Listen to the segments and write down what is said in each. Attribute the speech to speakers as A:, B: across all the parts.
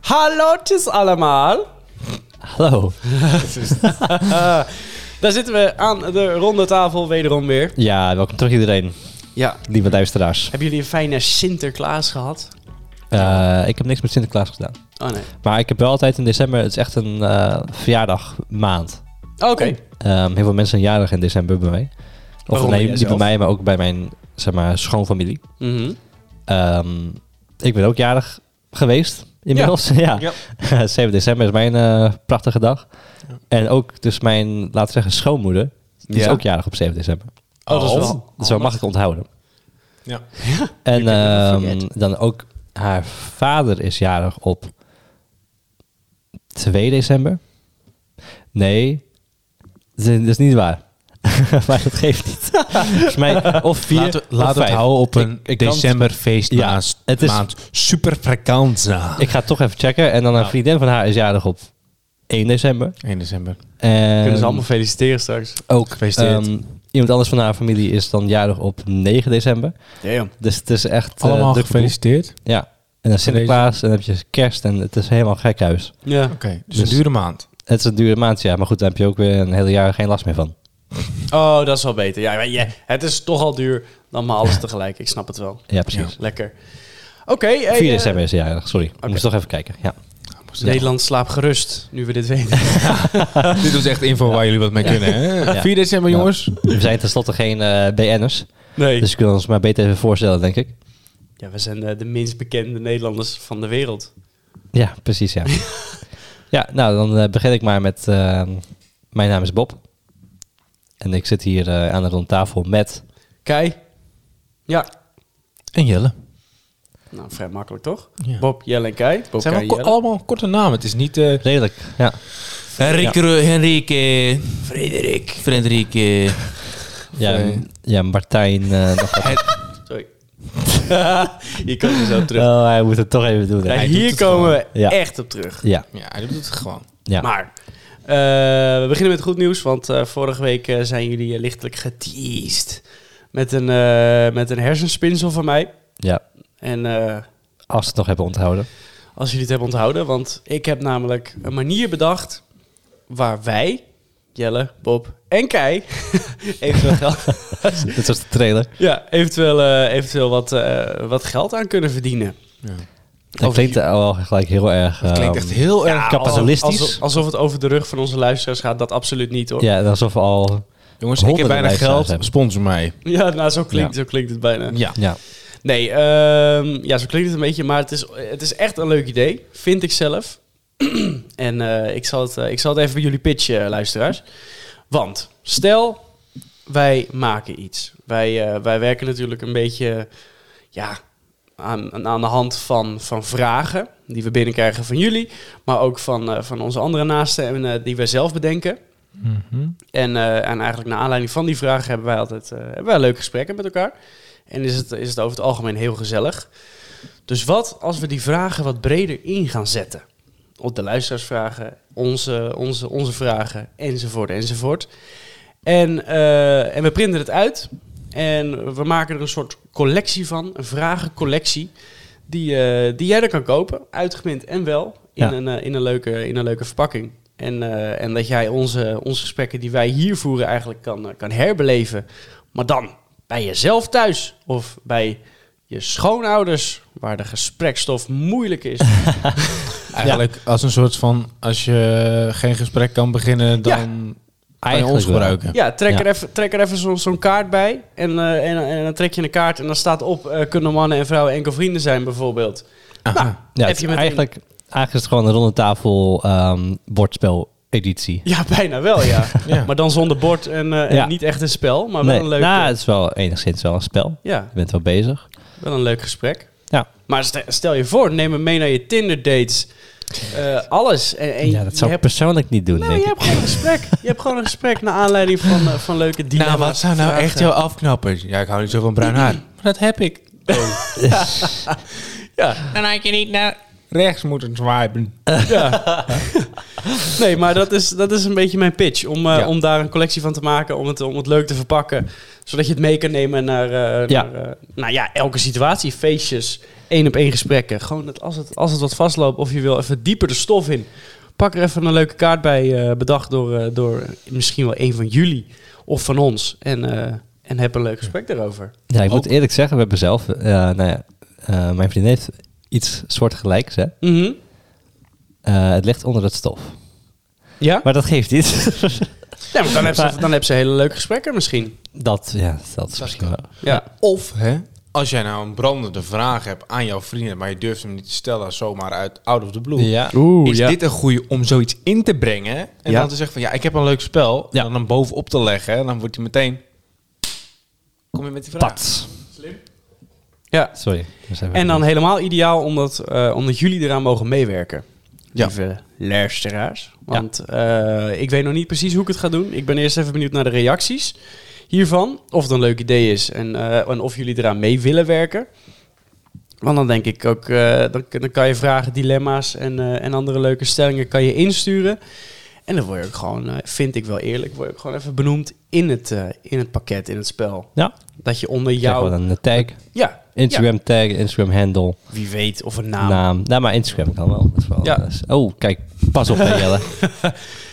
A: Hallo allemaal. Eh,
B: Hallo.
A: Daar zitten we aan de ronde tafel wederom weer.
B: Ja, welkom terug iedereen,
A: Ja.
B: lieve luisteraars.
A: Hebben jullie een fijne Sinterklaas gehad?
B: Eh, ik heb niks met Sinterklaas gedaan.
A: Oh nee.
B: Maar ik heb wel altijd in december, het is echt een eh, verjaardagmaand.
A: Oké.
B: Ehm, heel veel mensen zijn jarig in december bij mij. Of
A: Waaronder
B: nee, niet bij
A: jijzelf.
B: mij, maar ook bij mijn zeg maar, schoonfamilie.
A: Mhm.
B: Ehm, ik ben ook jarig geweest inmiddels. Ja.
A: Ja.
B: 7 december is mijn eh, prachtige dag. En ook dus mijn, laten we zeggen, schoonmoeder. Die is
A: Ja.
B: ook jarig op 7 december.
A: Oh, dat is wel
B: Dus Zo mag ik onthouden.
C: Ja.
B: En
A: Ik heb het niet
B: ehm,
A: vergeten.
B: dan ook haar vader is jarig op 2 december. Nee, dat is dat is niet waar. maar dat geeft niet. Volgens mij of 4
C: Laten we-
B: of
C: laten we het
B: vijf.
C: houden op
B: Ik-
C: een
B: ik kan het-
C: decemberfeest
B: Ja,
C: maand.
B: het is-
C: maand. Super vakanza.
B: Ik ga het toch even checken. En dan een
C: Ja.
B: vriendin van haar is jarig op 1 december.
C: 1 december.
B: En
A: Kunnen ze allemaal feliciteren straks.
B: ook
C: Gefeliciteerd.
B: ehm, iemand anders van haar familie is dan jarig op 9 december.
A: Damn.
B: Dus het is echt eh,
C: Allemaal
B: druk verboel.
C: gefeliciteerd. Oké,
B: Ja. En dan Sinterklaas en dan heb je kerst en het is helemaal gek huis.
A: Ja.
C: dus een dure maand.
B: Het is een dure maand, ja. Maar goed, daar heb je ook weer een hele jaar geen last meer van.
A: Oh, dat is wel beter. Ja, maar ja, het is toch al duur dan maar alles tegelijk. Ik snap het wel.
B: Ja, precies.
A: Lekker. Oké. hey,
B: 4
A: eh,
B: december is de jarig, sorry. Ik moest toch even kijken. Ja.
A: Nederland slaapt gerust, nu we dit weten.
C: Dit is echt info waar jullie wat mee kunnen. Hè?
B: Ja.
C: 4 december,
B: Ja.
C: jongens.
B: We zijn tenslotte geen eh, BN'ers,
A: Nee.
B: dus we kunnen ons maar beter even voorstellen, denk ik.
A: Ja, we zijn eh, de minst bekende Nederlanders van de wereld.
B: Ja, precies, ja. ja, nou, dan eh, begin ik maar met... eh, mijn naam is Bob. En ik zit hier eh, aan de rondtafel met...
A: Kei? Ja.
C: En Jelle.
A: Nou, vrij makkelijk toch?
C: Ja.
A: Bob, Jelle en Kei. Bob,
C: zijn
A: Kei,
C: wel ko-
A: Jelle.
C: allemaal korte namen. Het is niet... eh
B: Redelijk, ja.
D: Henrike, Henrike. Frederik. Frederike.
B: Ja,
C: Oké.
B: ja Martijn... eh, nog wat.
A: Sorry. Hier komen we zo op terug.
B: Oh, hij moet het toch even doen. hè.
A: Nee,
C: hij doet
A: hier
C: het
A: komen we
B: Ja.
A: echt op terug.
B: Ja,
C: ja, hij doet het gewoon.
B: ja.
A: Maar eh, we beginnen met goed nieuws, want eh, vorige week eh, zijn jullie eh, lichtelijk geteased met een, eh, met een hersenspinsel van mij.
B: ja.
A: En eh,
B: Als we het nog hebben onthouden.
A: als jullie het hebben onthouden, want ik heb namelijk een manier bedacht waar wij, Jelle, Bob en Kei, eventueel geld,
B: Dit was de trailer.
A: ja, eventueel, eh, eventueel wat, eh, wat geld aan kunnen verdienen.
B: Dat klinkt al gelijk heel erg...
C: Het klinkt
B: ehm,
C: echt heel erg...
B: alsof- kapitalistisch.
A: Eh, Alsof, alsof het over de rug van onze luisteraars gaat, dat absoluut niet hoor. Ja,
B: Ja, alsof we al...
C: Jongens, ik heb
B: honderden
C: weinig
B: luisteraars
C: geld.
B: hebben.
C: Sponsor mij.
A: nou zo klinkt, zo klinkt het bijna.
C: Ja.
B: Ja,
A: Nee, ehm, ja, zo klinkt het een beetje, maar het is, het is echt een leuk idee, vind ik zelf. en eh, ik, zal het, eh, ik zal het even bij jullie pitchen, eh, luisteraars. Want stel, wij maken iets. Wij, eh, wij werken natuurlijk een beetje ja, aan, aan de hand van, van vragen die we binnenkrijgen van jullie, maar ook van, eh, van onze andere naasten en eh, die wij zelf bedenken.
C: Mhm.
A: En, eh, en eigenlijk naar aanleiding van die vragen hebben wij altijd eh, hebben wij leuke gesprekken met elkaar. En is het, is het over het algemeen heel gezellig. Dus wat als we die vragen wat breder in gaan zetten? Op de luisteraarsvragen, onze, onze, onze vragen, enzovoort, enzovoort. En, eh, en we printen het uit. En we maken er een soort collectie van, een vragencollectie. Die, eh, die jij er kan kopen, uitgeprint en wel, in,
B: Ja.
A: een, eh, in, een, leuke, in een leuke verpakking. En, eh, en dat jij onze, onze gesprekken die wij hier voeren eigenlijk kan, eh, kan herbeleven. Maar dan bij jezelf thuis of bij je schoonouders, waar de gesprekstof moeilijk is.
C: Eigenlijk als een soort van... Als je geen gesprek kan beginnen, dan... Kan je
B: Eigenlijk
C: ons
B: wel.
C: gebruiken.
A: Ja, trek
B: Ja.
A: er even, trek er even zo'n zo'n kaart bij. En, eh, en, en dan trek je een kaart en dan staat op: eh, kunnen mannen en vrouwen enkel vrienden zijn, bijvoorbeeld.
C: Aha.
B: ja
A: Heb
B: het
A: je
B: is
A: meteen-
B: eigenlijk, eigenlijk is het gewoon een ronde tafel ehm, bordspel editie.
A: Ja, bijna wel, ja.
C: Ja.
A: Maar dan zonder bord en, eh, en
B: Ja.
A: niet echt een spel, maar wel een leuk.
B: nou,
A: eh,
B: het is wel enigszins wel een spel.
A: ja,
B: Je bent wel bezig.
A: wel een leuk gesprek.
B: Ja.
A: Maar stel, stel je voor, neem hem mee naar je Tinder dates. eh, alles. En, en
B: ja, dat
A: je
B: zou ik
A: hebt-
B: persoonlijk niet doen,
A: Nou,
B: denk
A: je
B: ik.
A: hebt gewoon een gesprek. Je hebt gewoon een gesprek naar aanleiding van, eh, van leuke dilemma's.
C: nou, wat zijn nou
A: vragen.
C: echt jouw afknappers? Ja, ik hou niet zo van bruin haar. Maar dat heb ik.
A: Ja.
D: Dan had je niet naar
C: rechts moeten swipen.
A: Ja. nee, maar dat is, dat is een beetje mijn pitch. Om, eh,
C: Ja.
A: om daar een collectie van te maken, om het, om het leuk te verpakken. Zodat je het mee kan nemen naar, eh,
B: Ja.
A: naar eh, nou ja, elke situatie. Feestjes, één op één gesprekken. Gewoon dat als, het, als het wat vastloopt of je wil even dieper de stof in. Pak er even een leuke kaart bij, eh, bedacht door, eh, door misschien wel een van jullie of van ons. En, eh, en heb een leuk gesprek daarover.
B: Ja, ik moet eerlijk zeggen, we hebben zelf... eh, nou ja, eh, mijn vriendin heeft iets soortgelijks, hè.
A: Mhm.
B: Eh, het ligt onder het stof.
A: Ja?
B: Maar dat geeft niet.
A: Ja, maar dan heb, ze, dan heb ze hele leuke gesprekken misschien.
B: dat, ja, dat is misschien wel...
A: Ja.
C: Of, hè, als jij nou een brandende vraag hebt aan jouw vrienden, maar je durft hem niet te stellen zomaar uit out of the blue.
B: Ja.
A: Oeh,
C: is dit een goede om zoiets in te brengen? En
A: Ja.
C: dan te zeggen van ja, ik heb een leuk spel. En dan hem bovenop te leggen. En dan wordt hij meteen. Kom je met die vraag?
B: Pat.
A: Ja.
B: Sorry. Dus we zijn
A: En
B: weer-
A: dan helemaal ideaal omdat, eh, omdat jullie eraan mogen meewerken.
C: Ja.
A: Lieve luisteraars. Want eh, ik weet nog niet precies hoe ik het ga doen. Ik ben eerst even benieuwd naar de reacties hiervan. Of het een leuk idee is en, eh, en of jullie eraan mee willen werken. Want dan denk ik ook, eh, dan, dan kan je vragen, dilemma's en, eh, en andere leuke stellingen kan je insturen. En dan word je ook gewoon, eh, vind ik wel eerlijk, word je ook gewoon even benoemd in het, eh, in het pakket, in het spel.
B: Ja.
A: Dat je onder
B: Zeg maar
A: jou...
B: dan een tag.
A: Ja,
B: Instagram tag, Instagram handle,
A: wie weet, of een naam.
B: naam. Nou, maar Instagram kan wel. Dat is wel
A: Ja.
B: dat is- oh, kijk. Pas op, hè, Jelle.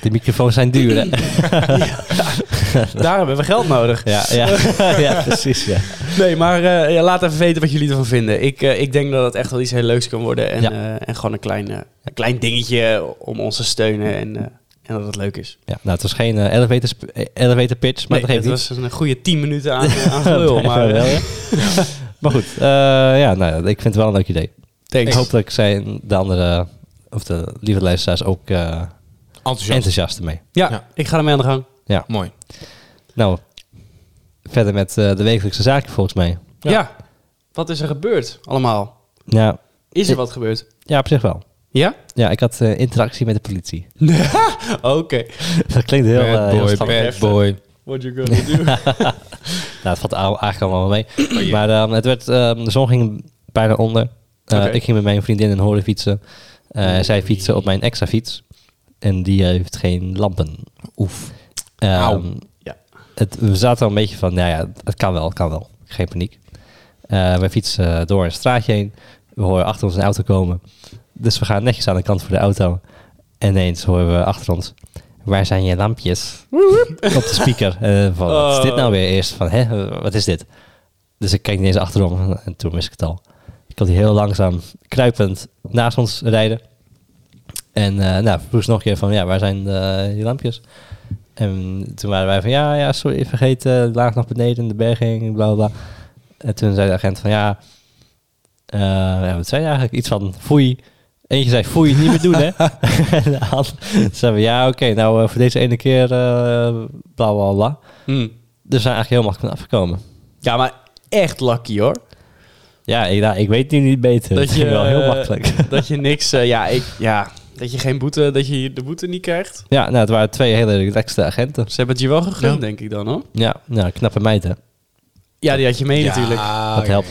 B: De microfoons zijn duur, hè?
A: Daar hebben we geld nodig.
B: Ja, ja. ja precies, ja.
A: Nee, maar eh, ja, laat even weten wat jullie ervan vinden. Ik, eh, ik denk dat het echt wel iets heel leuks kan worden. En,
B: Ja.
A: eh, en gewoon een klein, eh, een klein dingetje om ons te steunen. En, eh, en dat het leuk is.
B: ja. Nou, het was geen eh, elevator, sp- eh, elevator pitch, maar
A: Maar
B: dat
A: het
B: geeft niet.
A: was een goede 10 minuten aan, eh, aan gelul.
B: Nee,
A: maar,
B: wel, ja. maar goed, eh, ja, nou, ja, ik vind het wel een leuk idee. Ik
A: thanks.
B: hoop dat ik zij de andere, of de lieve luisteraars ook eh,
C: Enthousiast.
B: enthousiast mee.
A: Ja,
C: Ja.
A: ik ga ermee aan de gang.
C: Mooi.
B: Nou, verder met eh, de wekelijkse zaken volgens mij.
A: Ja. Wat is er gebeurd allemaal?
B: Ja,
A: Is er
B: Ik-
A: wat gebeurd?
B: ja op zich wel.
A: Ja?
B: Ja, ik had eh, interactie met de politie.
A: Oké.
B: Dat klinkt heel, eh, heel
C: bad boy,
B: spannend.
C: bad boy.
A: What you gonna do?
B: Nou, het valt al- eigenlijk allemaal wel mee. Maar ehm, het werd, ehm, de zon ging bijna onder. Eh,
A: Oké.
B: Ik ging met mijn vriendin en horen fietsen. Eh, zij fietsen op mijn extra fiets. En die heeft geen lampen. Oef. Ehm,
C: Auw.
A: Ja.
B: het, we zaten al een beetje van, nou ja, het kan wel, het kan wel. Geen paniek. Eh we fietsen door een straatje heen. We horen achter ons een auto komen. Dus we gaan netjes aan de kant voor de auto. En ineens horen we achter ons... Waar zijn je lampjes? Op de speaker. Eh, van, Wat is dit nou weer eerst? Van, hè, wat is dit? Dus ik kijk niet eens achterom. En toen wist ik het al. Ik had die heel langzaam, kruipend naast ons rijden. En eh, nou, vroeg ze nog een keer van... Ja, waar zijn eh, je lampjes? En toen waren wij van... Ja, ja, sorry, vergeet eh, laag nog beneden in de berging. Bla, bla, bla. En toen zei de agent van... Ja, eh, ja, wat zei je eigenlijk? Iets van foei. Eentje zei foei, niet meer doen hè. en de ander zei ja oké, nou eh, voor deze ene keer eh bla bla bla. Dus we zijn eigenlijk heel makkelijk afgekomen.
A: Ja, maar echt lucky hoor.
B: Ja, ik, nou, ik weet nu niet beter. Dat,
A: Dat
B: is
A: je,
B: wel heel
A: eh,
B: makkelijk.
A: Dat je niks... eh, ja, ik, ja, dat je geen boete... Dat je de boete niet krijgt.
B: ja, nou het waren twee hele relaxte agenten.
A: Ze hebben het je wel gegund,
C: Ja.
A: denk ik dan hoor.
B: Ja, nou knappe meid hè.
A: Ja, die had je mee natuurlijk.
B: Dat helpt.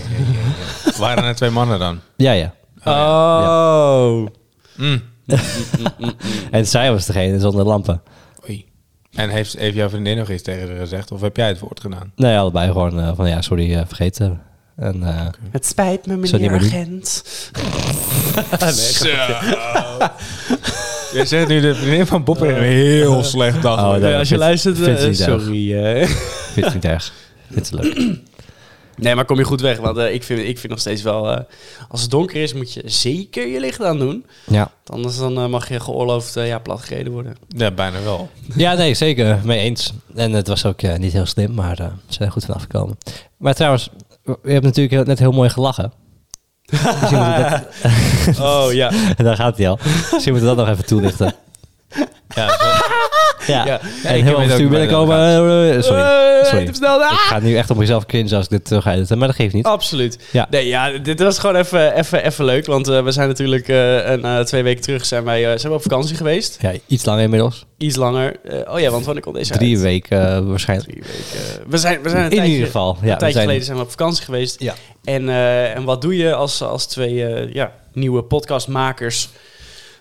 C: Waren er twee mannen dan?
B: Ja, ja.
A: Oh.
C: Mm.
B: En zij was degene zonder lampen.
C: Oei. En heeft, heeft jouw vriendin nog iets tegen haar gezegd? Of heb jij het woord gedaan?
B: Nee, allebei gewoon eh, van ja, sorry, eh, vergeten. En eh,
A: Het spijt me,
B: Zou
A: meneer
B: die maar doen?
A: agent.
C: Zo. Jij zegt nu de vriendin van Bob in een heel slecht dag.
B: Oh, dat-
A: Nee, als je
B: vindt-
A: luistert, eh,
B: vindt ze niet erg.
A: sorry. eh.
B: vind het niet erg. Vind het leuk.
A: Nee, maar kom je goed weg. Want eh, ik, vind, ik vind nog steeds wel... eh, als het donker is, moet je zeker je licht aan doen.
B: Ja.
A: Want Anders dan, eh, mag je geoorloofd eh, ja, platgereden worden.
C: Ja, bijna wel.
B: Ja, nee, zeker. Mee eens. En het was ook eh, niet heel slim, maar eh, ze zijn er goed van afgekomen. Maar trouwens, je hebt natuurlijk heel- net heel mooi gelachen. Misschien moet ik dat,
A: Oh, ja.
B: daar gaat hij al. Misschien moeten we dat nog even toelichten.
C: Ja, zo-
B: Ja,
A: Ja.
C: ik
B: en heel
C: weet
B: af en
C: ook
B: toe
C: waar dat
B: binnenkomen. eh, eh, Sorry,
A: Eh,
B: sorry.
A: Te snel.
B: Ik
A: Ah,
B: ga nu echt op mezelf cringe als ik dit terug edit, maar dat geeft
A: Oh.
B: niet.
A: Absoluut.
B: Ja.
A: Nee, ja, dit was gewoon even, even, even leuk. Want eh, we zijn natuurlijk eh, een, eh, twee weken terug zijn wij, eh, zijn we op vakantie geweest.
B: Ja, iets langer inmiddels.
A: Iets langer. Eh, oh ja, want wanneer komt deze
B: Drie
A: uit?
B: weken eh, waarschijnlijk.
A: Drie weken. We zijn, we zijn een
B: In
A: tijdje-
B: ieder geval. Ja,
A: een
B: we
A: tijdje
B: zijn,
A: geleden zijn we op vakantie geweest.
B: Ja.
A: En, eh, en wat doe je als, als twee eh, ja, nieuwe podcastmakers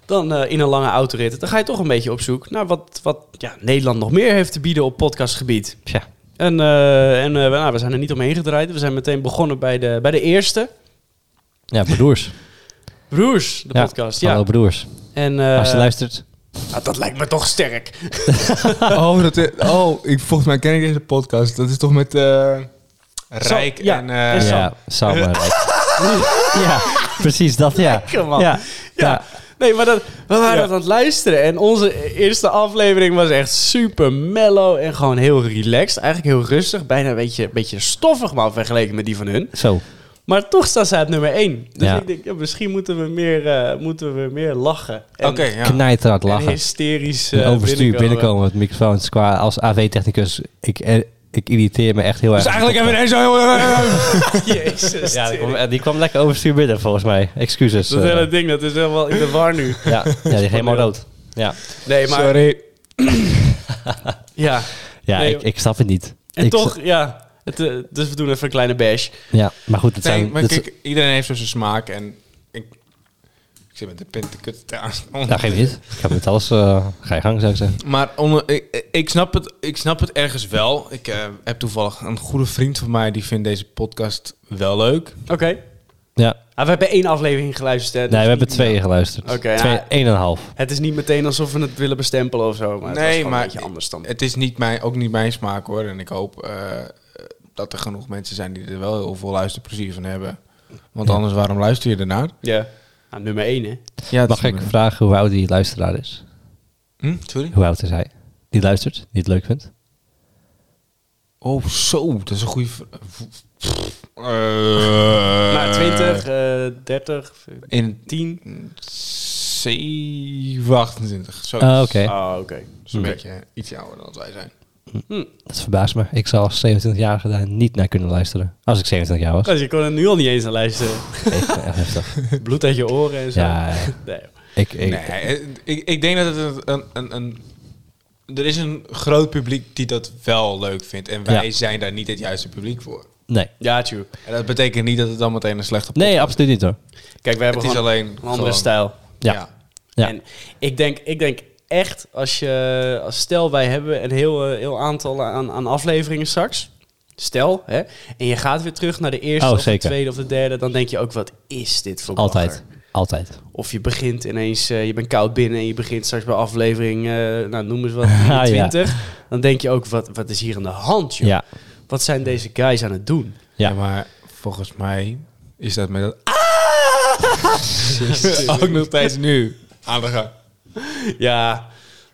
A: dan eh, in een lange autorit. Dan ga je toch een beetje op zoek naar wat, wat ja, Nederland nog meer heeft te bieden op podcastgebied.
B: Tja.
A: En, eh, en eh, we- nou, we zijn er niet omheen gedraaid. We zijn meteen begonnen bij de, bij de eerste.
B: Ja, broers.
A: Broers, de
B: Ja,
A: podcast.
B: Hallo
A: Ja.
B: broers.
A: En, eh,
B: Als je luistert.
A: nou, dat lijkt me toch sterk.
C: Oh, dat is- oh ik, volgens mij ken ik deze podcast. Dat is toch met eh, Rijk
A: Zo, ja,
C: en... eh,
A: is zo.
B: Ja, samen. ja, precies dat, ja.
A: Lekker, man.
B: Ja,
A: Ja.
B: ja.
A: Nee, maar dat, we waren
C: Ja.
A: dat aan het luisteren. En onze eerste aflevering was echt super mellow en gewoon heel relaxed. Eigenlijk heel rustig. Bijna een beetje, beetje stoffig, maar vergeleken met die van hun.
B: Zo.
A: Maar toch staat ze uit nummer 1. Dus
B: Ja.
A: ik denk, ja, misschien moeten we meer, eh, moeten we meer lachen. En,
C: Oké, ja.
B: Knijterhard
A: en
B: lachen.
A: hysterisch
B: En
A: eh,
B: overstuur binnenkomen met microfoons. Qua als AV-technicus, ik, eh, ik irriteer me echt heel erg.
C: Dus eigenlijk hebben we ineens zo heel... eh,
A: Jezus.
B: Ja, die
A: tering.
B: kwam, eh, die kwam lekker overstuur binnen volgens mij. Excuses.
A: dat
B: eh.
A: hele ding, dat is helemaal in de war nu.
B: ja, ja, die ging helemaal rood. Ja,
A: Nee, maar...
C: Sorry.
A: Ja.
B: ja
A: Nee,
B: ik, ik snap het niet.
A: En
B: Ik
A: toch, ja. Het, eh, dus we doen even een kleine bash.
B: Ja, maar goed, het
C: Nee,
B: zijn...
C: maar
B: dat-
C: kijk, iedereen heeft zo zijn smaak en... Ik, ik zit met de pint te kut te aan.
B: nou, geen niet. Ik heb met alles... eh, ga je gang, zou ik zeggen.
C: Maar om, ik, ik, snap het, ik snap het ergens wel. Ik eh, heb toevallig een goede vriend van mij die vindt deze podcast wel leuk.
A: Oké.
B: Ja.
A: Ah, we hebben één aflevering geluisterd. Hè, dus
B: Nee, we hebben
A: niet-
B: twee geluisterd.
A: Oké,
B: twee,
A: ja.
B: één en een half.
A: Het is niet meteen alsof we het willen bestempelen of zo. Maar het was
C: nee,
A: gewoon
C: maar
A: een beetje anders dan.
C: het is niet mijn, ook niet mijn smaak hoor. En ik hoop eh, dat er genoeg mensen zijn die er wel heel veel luisterplezier van hebben. Want
B: Ja.
C: anders, waarom luister je ernaar?
A: Ja. Nou, nummer één, hè?
C: Ja, het
B: Mag
C: is-
B: ik vragen hoe oud die luisteraar is?
C: Hm? Sorry?
B: Hoe oud is hij? Die luistert, die het leuk vindt.
C: Oh, zo. Dat is een goede... vr- v- pff, eh,
A: nou, 20, eh 30,
C: In
A: 10.
C: 7, 28. Zo.
B: Ah, oké.
A: Ah, oké.
C: Dat is een
A: Oké.
C: beetje iets ouder dan wij zijn.
B: Dat verbaast me. Ik zou als 27-jarige daar niet naar kunnen luisteren. Als ik 27 jaar was.
A: Dus je kon er nu al niet eens aan luisteren.
B: Echt, echt heftig.
A: Bloed uit je oren en zo.
B: Ja,
A: Nee.
B: ik, ik,
C: nee, eh, ik, ik denk dat het een, een, een... Er is een groot publiek die dat wel leuk vindt. En wij
B: Ja.
C: zijn daar niet het juiste publiek voor.
B: nee.
A: Ja, true.
C: En dat betekent niet dat het dan meteen een slechte podcast
B: Nee, absoluut niet hoor.
A: Kijk, we hebben
C: Het is
A: gewoon
C: alleen...
A: een andere
C: gewoon-
A: stijl.
B: Ja. Ja.
A: En ik denk, ik denk echt, als je, als stel wij hebben een heel, eh, heel aantal aan, aan afleveringen straks. Stel, hè, en je gaat weer terug naar de eerste
B: Oh,
A: of de
B: zeker.
A: tweede of de derde, dan denk je ook, wat is dit voor
B: Altijd.
A: bagger?
B: Altijd.
A: Of je begint ineens, eh, je bent koud binnen en je begint straks bij aflevering, eh, nou noem eens wat,
B: ja.
A: 20. Dan denk je ook, wat, wat is hier aan de hand, joh?
B: Ja.
A: Wat zijn deze guys aan het doen?
B: Ja.
C: Ja. maar volgens mij is dat met dat...
A: Jezus.
C: ook nog steeds nu aan de gang.
A: ja,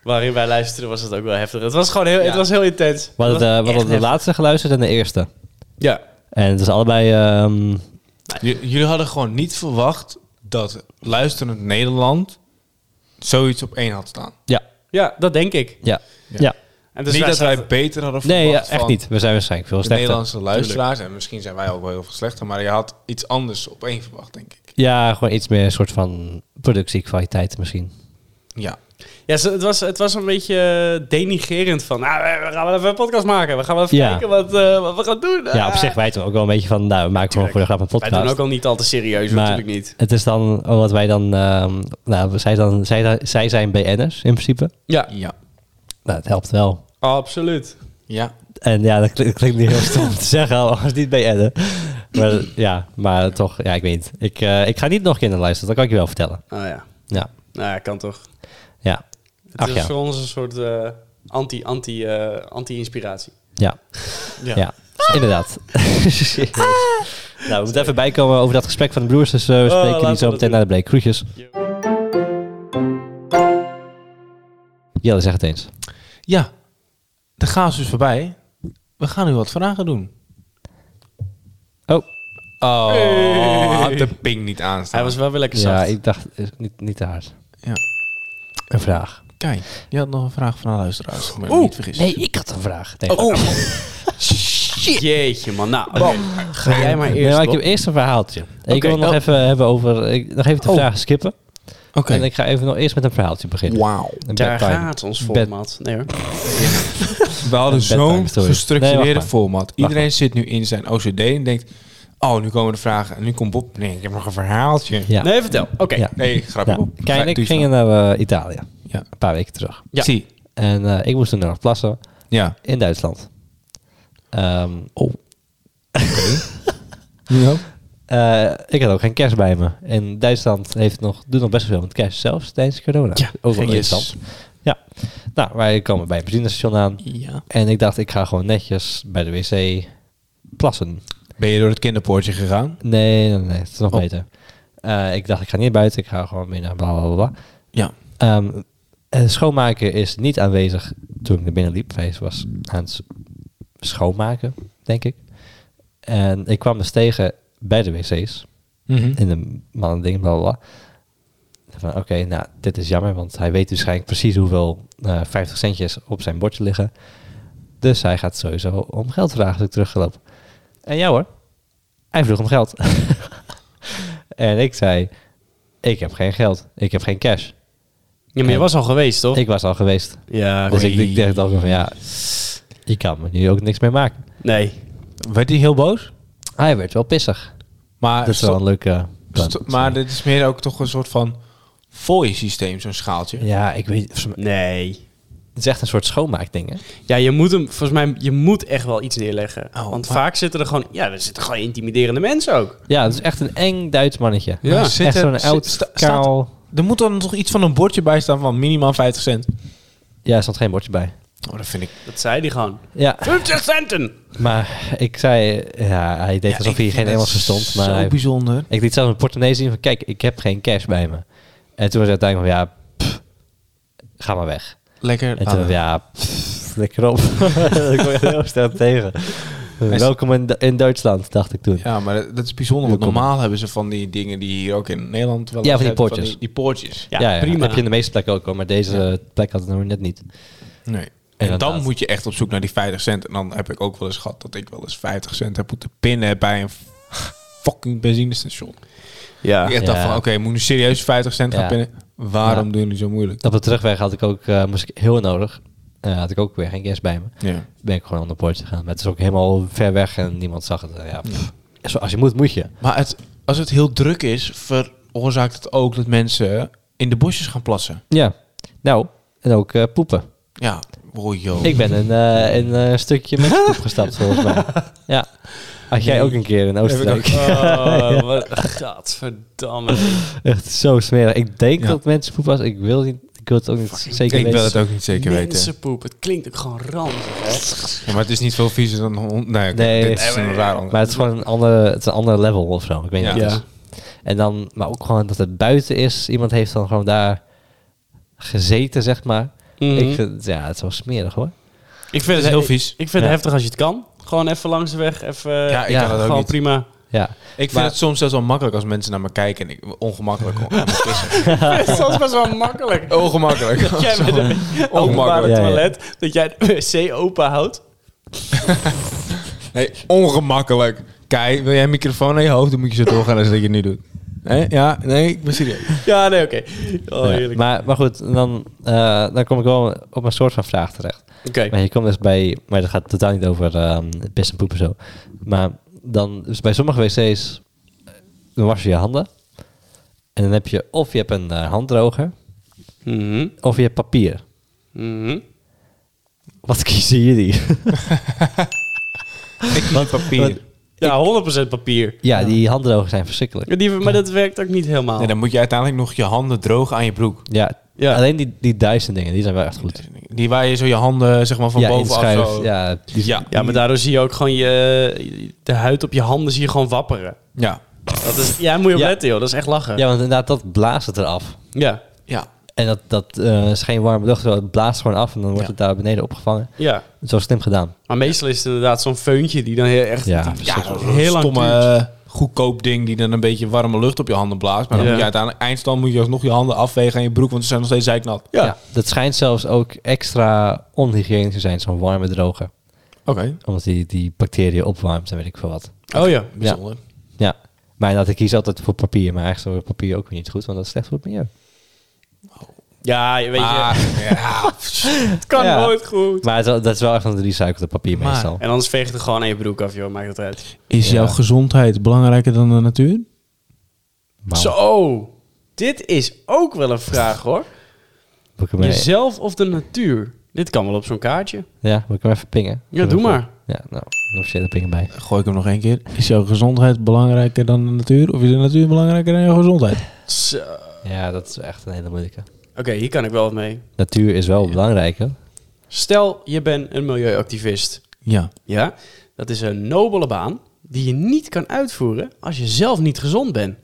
A: waarin wij luisterden was het ook wel heftig. Het was gewoon heel, het
C: Ja.
A: was heel intens.
B: We hadden,
A: Het
B: de,
A: was
B: we
A: echt
B: hadden de
A: heftig.
B: laatste geluisterd en de eerste.
A: Ja,
B: En het is allebei... ehm,
C: J- jullie hadden gewoon niet verwacht dat luisterend Nederland zoiets op één had staan.
B: ja.
A: ja, dat denk ik.
B: Ja. Ja.
C: Ja.
A: En dus
C: niet
A: wij
C: dat
A: zaten-
C: wij beter hadden verwacht
B: Nee, ja, echt
C: van
B: niet. We zijn waarschijnlijk veel
C: de
B: sterker.
C: Nederlandse luisteraars. En misschien zijn wij ook wel heel veel slechter. Maar je had iets anders op één verwacht, denk ik.
B: Ja, gewoon iets meer een soort van productiekwaliteit misschien.
C: Ja.
A: Ja, ze- het was, het was een beetje eh, denigerend van, nou, we we gaan wel even een podcast maken. We gaan wel even
B: Ja.
A: kijken wat, eh, wat we gaan doen.
B: Ja, op zich wij doen ook wel een beetje van, nou, we maken gewoon voor de grap een
A: Wij
B: podcast.
A: doen ook al niet al te serieus, hoor,
B: Maar-
A: natuurlijk niet.
B: Het is dan oh, wat wij dan, ehm, nou, zij, dan zij, zij zijn BN'ers in principe.
A: Ja,
C: Ja.
B: Nou, het helpt wel.
A: absoluut.
C: Ja.
B: En ja, dat klinkt, klinkt niet heel stom te zeggen als niet BN'er. Maar ja, maar toch, ja, ik weet niet. Ik, eh, ik ga niet nog een keer naar luisteren, dat kan ik je wel vertellen.
A: Oh ja,
B: Ja,
A: nou ja, kan toch.
B: ja,
A: Het
B: Ach
A: is
B: ja.
A: voor ons een soort eh, anti, anti, eh, anti-inspiratie.
B: ja, ja. Inderdaad. nou, we moeten even bijkomen over dat gesprek van de broers. Dus eh, we
A: Oh,
B: spreken
A: laten
B: die
A: we
B: zo
A: dat
B: meteen
A: doen.
B: naar de break. Groetjes. Jelle, zeg het eens.
C: Ja. De chaos is voorbij. We gaan nu wat vragen doen.
B: Oh,
C: Oh, had de ping niet aanstaan.
A: Hij was wel weer lekker
B: ja,
A: zacht.
B: ik dacht, eh, niet, niet te hard.
C: Ja.
B: Een vraag.
C: Kijk, je had nog een vraag van een luisteraar. Oh,
B: Oeh,
C: niet vergis.
B: Nee, ik had een vraag. Nee,
A: Jeetje man, nou, oké. ga jij maar
B: Nee,
A: eerst.
B: maar ik
A: Bob.
B: heb eerst een verhaaltje. Ik
C: Oké.
B: wil nog
C: Oh.
B: even hebben over... Ik, nog even de
C: Oh.
B: vragen skippen.
C: Oké.
B: En ik ga even nog eerst met een verhaaltje beginnen.
C: Wauw.
B: Een
A: Daar
B: bedtime.
A: gaat ons
B: Bed-
A: format. Nee hoor.
C: We hadden
B: Een bedtime story.
C: zo'n
B: Nee, wacht
C: gestructureerde
B: maar.
C: format. Iedereen zit nu in zijn OCD en denkt... Oh, nu komen de vragen. En nu komt Bob. Nee, ik heb nog een verhaaltje.
B: Ja.
A: Nee, vertel. Oké.
B: Ja.
C: Nee, grapje.
B: Ja.
C: Bob.
B: Kijk,
C: Doe
B: ik
C: je
B: ging
C: verhaal.
B: naar eh, Italië.
C: Ja.
B: Een paar weken terug.
A: Ja.
C: Zie.
B: En eh, ik moest toen nog plassen
C: Ja.
B: in Duitsland. Ehm, eh, ik had ook geen cash bij me. En Duitsland heeft nog, doet nog best wel veel met cash, zelfs tijdens corona.
A: Ja,
B: ook wel
C: geen yes.
B: interessant. Ja. Nou, wij komen bij een benzinestation aan.
A: Ja.
B: En ik dacht, ik ga gewoon netjes bij de wc plassen.
C: Ben je door het kinderpoortje gegaan?
B: Nee, nee, nee, het is nog
C: Oh.
B: beter. Eh, ik dacht, ik ga niet buiten, ik ga gewoon binnen, bla bla bla. bla.
C: Ja.
B: Ehm, eh, schoonmaker is niet aanwezig toen ik naar binnen liep. Hij was aan het s- schoonmaken, denk ik. En ik kwam dus tegen bij de wc's.
C: Mhm.
B: In de mannen ding, bla bla bla. Van oké, nou, dit is jammer, want hij weet waarschijnlijk precies hoeveel eh 50 centjes op zijn bordje liggen. Dus hij gaat sowieso om geld vragen als ik teruggelopen. En ja hoor, hij vroeg om geld. en ik zei, ik heb geen geld, ik heb geen cash.
A: maar je was al geweest, toch?
B: Ik was al geweest.
A: ja,
B: Dus ik,
A: oei.
B: ik dacht ook van ja, je kan me nu ook niks mee maken.
A: Nee.
C: Werd hij heel boos?
B: Hij werd wel pissig.
C: Maar,
B: Dat is wel een leuke...
C: sto-
B: brand.
C: sto- maar dit is meer ook toch een soort van fooi systeem, zo'n schaaltje.
B: ja, ik weet,
A: Nee.
B: het is echt een soort schoonmaakding hè.
A: Ja, je moet hem, volgens mij, je moet echt wel iets neerleggen.
C: Oh,
A: Want
C: maar-
A: vaak zitten er gewoon, ja, er zitten gewoon intimiderende mensen ook.
B: Ja, het is echt een eng Duits mannetje.
C: Ja,
B: echt
C: zit er-
B: zo'n
C: zit-
B: oud,
C: sta-
B: kaal...
C: Er moet dan toch iets van een bordje bij staan van minimaal 50 cent.
B: Ja, er stond geen bordje bij.
C: Oh, dat vind ik.
A: Dat zei die gewoon.
B: Ja,
A: 50 centen!
B: maar ik zei... Ja, hij deed alsof hij geen Engels verstond, maar...
C: Zo
B: hij-
C: bijzonder.
B: ik liet zelf mijn portemonnee zien van... Kijk, ik heb geen cash bij me. En toen was het uiteindelijk van... Ja, pff, ga maar weg.
C: Lekker.
B: En toen
C: Ah.
B: eh, ja, pff, lekker op. dat kon je heel snel tegen.
C: is-
B: Welkom in, Du- in Duitsland, dacht ik toen.
C: Ja, maar dat- dat is bijzonder. Want
B: Welkom.
C: normaal hebben ze van die dingen die hier ook in Nederland wel
B: Ja,
C: eens
B: van die
C: hebben,
B: poortjes.
C: die, die poortjes.
A: Ja, prima.
B: heb je in de meeste plekken ook hoor, maar deze eh, plek had het nog net niet.
C: Nee. En
B: Inderdaad.
C: dan moet je echt op zoek naar die 50 cent. En dan heb ik ook wel eens gehad dat ik wel eens 50 cent heb moeten pinnen bij een fucking benzinestation.
A: Ja.
C: ik echt dacht
B: Ja.
C: van, oké, moet ik nu serieus 50 cent
B: Ja.
C: gaan pinnen? Waarom
B: Ja.
C: doen jullie zo moeilijk?
B: Op de terugweg had ik ook, eh, moest ik heel nodig. Eh, had ik ook weer geen cash bij me.
C: Ja.
B: Ben ik gewoon aan de poortje gegaan. Maar het is ook helemaal ver weg en niemand zag het. Eh, Ja, pff. Zo, als je moet, moet je.
C: Maar het, als het heel druk is, veroorzaakt het ook dat mensen in de bosjes gaan plassen.
B: Ja. Nou, en ook eh, poepen.
C: Ja, oh joh.
B: Ik ben een, eh, een eh, stukje met poep gestapt, volgens mij. Ja. Had jij ook een keer in Oostenrijk.
A: Oh, wat gadverdamme.
B: Echt zo smerig. Ik denk
C: Ja.
B: dat mensen poep was. Ik wil, niet, ik wil het ook niet zeker
C: Ik
B: weten.
C: wil het ook niet zeker weten.
A: Mensenpoep, het klinkt ook gewoon ranzig, hè?
C: Ja, maar het is niet veel viezer dan hond. Nee, oké,
B: Nee.
C: dit is een raar ander.
B: Maar het is gewoon een andere, het is een ander level of zo. Ik weet niet
C: Ja.
B: wat het is. En dan, maar ook gewoon dat het buiten is. Iemand heeft dan gewoon daar gezeten, zeg maar.
A: Mhm.
B: Ik vind, ja, het is wel smerig hoor.
A: Ik vind
C: is
A: het
C: heel
A: ik-
C: vies.
A: Ik, vind het
B: Ja.
A: heftig als je het kan. Gewoon even langs de weg. Even,
C: Ja, ik
B: Ja,
C: kan dat ook
A: gewoon
C: niet.
A: prima.
B: Ja,
C: Ik vind
B: Maar-
C: het soms zelfs wel makkelijk als mensen naar me kijken en ik ongemakkelijk. om- om te pissen.
A: dat is best wel makkelijk.
C: ongemakkelijk.
A: Dat jij met een openbare
C: ongemakkelijk.
B: Ja, ja.
A: toilet, dat jij de wc open houdt.
C: Nee, ongemakkelijk. Kijk, wil jij een microfoon naar je hoofd, dan moet je zo doorgaan als dat je nu doet. Nee, ja, nee, ik ben serieus.
A: Ja, nee, oké. Oh,
B: Ja,
A: heerlijk.
B: maar, maar goed, en dan, eh, dan kom ik wel op een soort van vraag terecht.
A: Oké.
B: Maar je komt dus bij, maar dat gaat totaal niet over ehm pis en poep en zo. Maar dan, dus bij sommige wc's, eh, dan was je je handen. En dan heb je, of je hebt een eh, handdroger,
A: Mhm.
B: of je hebt papier.
A: Mhm.
B: Wat kiezen jullie?
C: Ik kies papier.
B: wat-
A: Ja, 100% papier.
B: ja, die handdrogers zijn verschrikkelijk.
A: Ja, die- maar dat werkt ook niet helemaal.
C: Nee, dan moet je uiteindelijk nog je handen droog aan je broek.
B: Ja,
A: Ja.
B: alleen die, die Dyson dingen, die zijn wel echt goed.
C: Die waar je zo je handen zeg maar van
B: ja,
C: bovenaf
B: inschuif,
C: zo...
B: Ja, die-
C: ja.
A: ja, maar daardoor zie je ook gewoon je, de huid op je handen zie je gewoon wapperen.
C: Ja.
A: Dat is, ja, moet je op
B: Ja.
A: letten, joh. Dat is echt lachen.
B: ja, want inderdaad, dat blaast het eraf.
A: Ja.
C: Ja.
B: En dat, dat eh, is geen warme lucht, dat blaast gewoon af en dan wordt
C: Ja.
B: het daar beneden opgevangen.
A: ja.
B: Dat is wel slim gedaan.
A: Maar meestal is het inderdaad zo'n feuntje die dan heel, echt
B: Ja,
A: die-
B: verschrikkelijk.
A: dat
C: Een
A: heel lang duurt.
C: stomme, goedkoop ding die dan een beetje warme lucht op je handen blaast. Maar dan
A: Ja.
C: moet je uiteindelijk eindstand moet je alsnog je handen afvegen aan je broek, want ze zijn nog steeds zeiknat.
A: Ja.
B: Dat schijnt zelfs ook extra onhygiënisch te zijn, zo'n warme droger.
C: Oké.
B: Omdat die, die bacteriën opwarmt en weet ik veel wat.
A: Oh ja.
C: Bijzonder.
B: Ja. Maar dat ik kies altijd voor papier, maar eigenlijk is papier ook weer niet goed, want dat is slecht voor het milieu.
A: Ja, je weet je,
C: Ah, ja,
A: het kan
B: ja.
A: nooit goed.
B: Maar het is wel- dat is wel echt een recycled papier
C: Maar-
B: meestal.
A: En anders veeg het er gewoon aan je broek af, joh. Maakt het uit.
C: Is jouw gezondheid belangrijker dan de natuur?
B: Maar
A: Zo, dit is ook wel een vraag, hoor.
B: moet ik hem, even-
A: Jezelf of de natuur? Dit kan wel op zo'n kaartje.
B: ja, moet ik hem even pingen?
A: Ja, doe maar.
B: Ja, nou, een officiële ping bij.
C: Gooi ik hem nog één keer. Is jouw gezondheid belangrijker dan de natuur? Of is de natuur belangrijker dan jouw gezondheid?
A: Zo.
B: Ja, dat is echt een hele moeilijke.
A: Oké, hier kan ik wel wat mee.
B: Natuur is wel belangrijk, hè?
A: Stel, je bent een milieuactivist.
C: Ja.
A: Ja, dat is een nobele baan die je niet kan uitvoeren als je zelf niet gezond bent.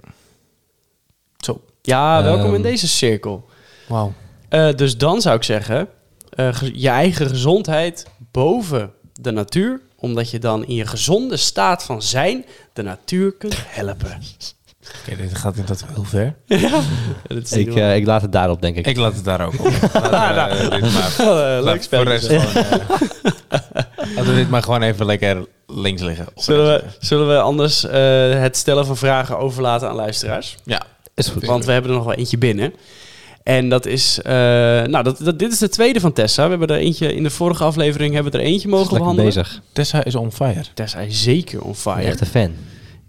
C: Zo.
A: Ja, welkom
B: Ehm.
A: in deze cirkel.
C: Wauw.
A: Eh, dus dan zou ik zeggen, eh, ge- je eigen gezondheid boven de natuur, omdat je dan in je gezonde staat van zijn de natuur kunt helpen.
C: Oké, dit gaat inderdaad heel ver.
A: Dat is niet
B: Ik,
A: normaal.
B: eh, ik laat het daarop, denk ik.
C: Ik laat het daar ook op. Laten we, eh, dit maar-
A: Eh, leuk
C: laten we voor de rest
A: spel.
C: gewoon, eh, Laten we dit maar gewoon even lekker links liggen.
A: Zullen we, zullen we anders eh, het stellen van vragen overlaten aan luisteraars?
C: Ja.
B: Is goed.
A: Want we hebben er nog wel eentje binnen. En dat is, eh, nou, dat, dat, dit is de tweede van Tessa. We hebben er eentje in de vorige aflevering hebben we er eentje mogen
B: Lekker
A: behandelen.
B: bezig.
C: Tessa is on fire.
A: Tessa is zeker on fire.
B: Echt een fan.